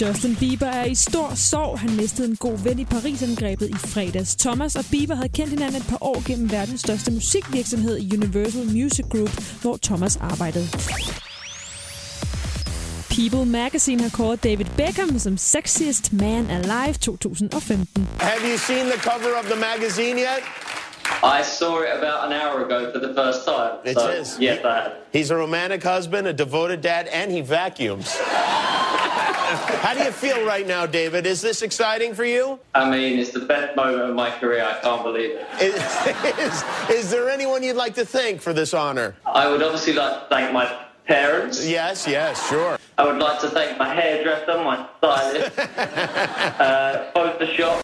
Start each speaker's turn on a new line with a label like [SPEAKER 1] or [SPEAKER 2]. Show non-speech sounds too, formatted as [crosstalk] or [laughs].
[SPEAKER 1] Justin Bieber er i stor sorg. Han mistede en god ven i Paris-angrebet i fredags. Thomas og Bieber havde kendt hinanden et par år gennem verdens største musikvirksomhed Universal Music Group, hvor Thomas arbejdede. People Magazine har kåret David Beckham som Sexiest Man Alive 2015.
[SPEAKER 2] Have you seen the cover of the magazine yet?
[SPEAKER 3] I saw it about an hour ago for the first time.
[SPEAKER 2] It
[SPEAKER 3] so,
[SPEAKER 2] is.
[SPEAKER 3] Yeah, that.
[SPEAKER 2] He's a romantic husband, a devoted dad, and he vacuums. How do you feel right now, David? Is this exciting for you?
[SPEAKER 3] I mean, it's the best moment of my career. I can't believe it.
[SPEAKER 2] Is, [laughs] is, is there anyone you'd like to thank for this honor?
[SPEAKER 3] I would obviously like to thank my parents.
[SPEAKER 2] Yes, yes, sure. [laughs]
[SPEAKER 3] I would like to thank my hairdresser, my stylist, uh, Photoshop.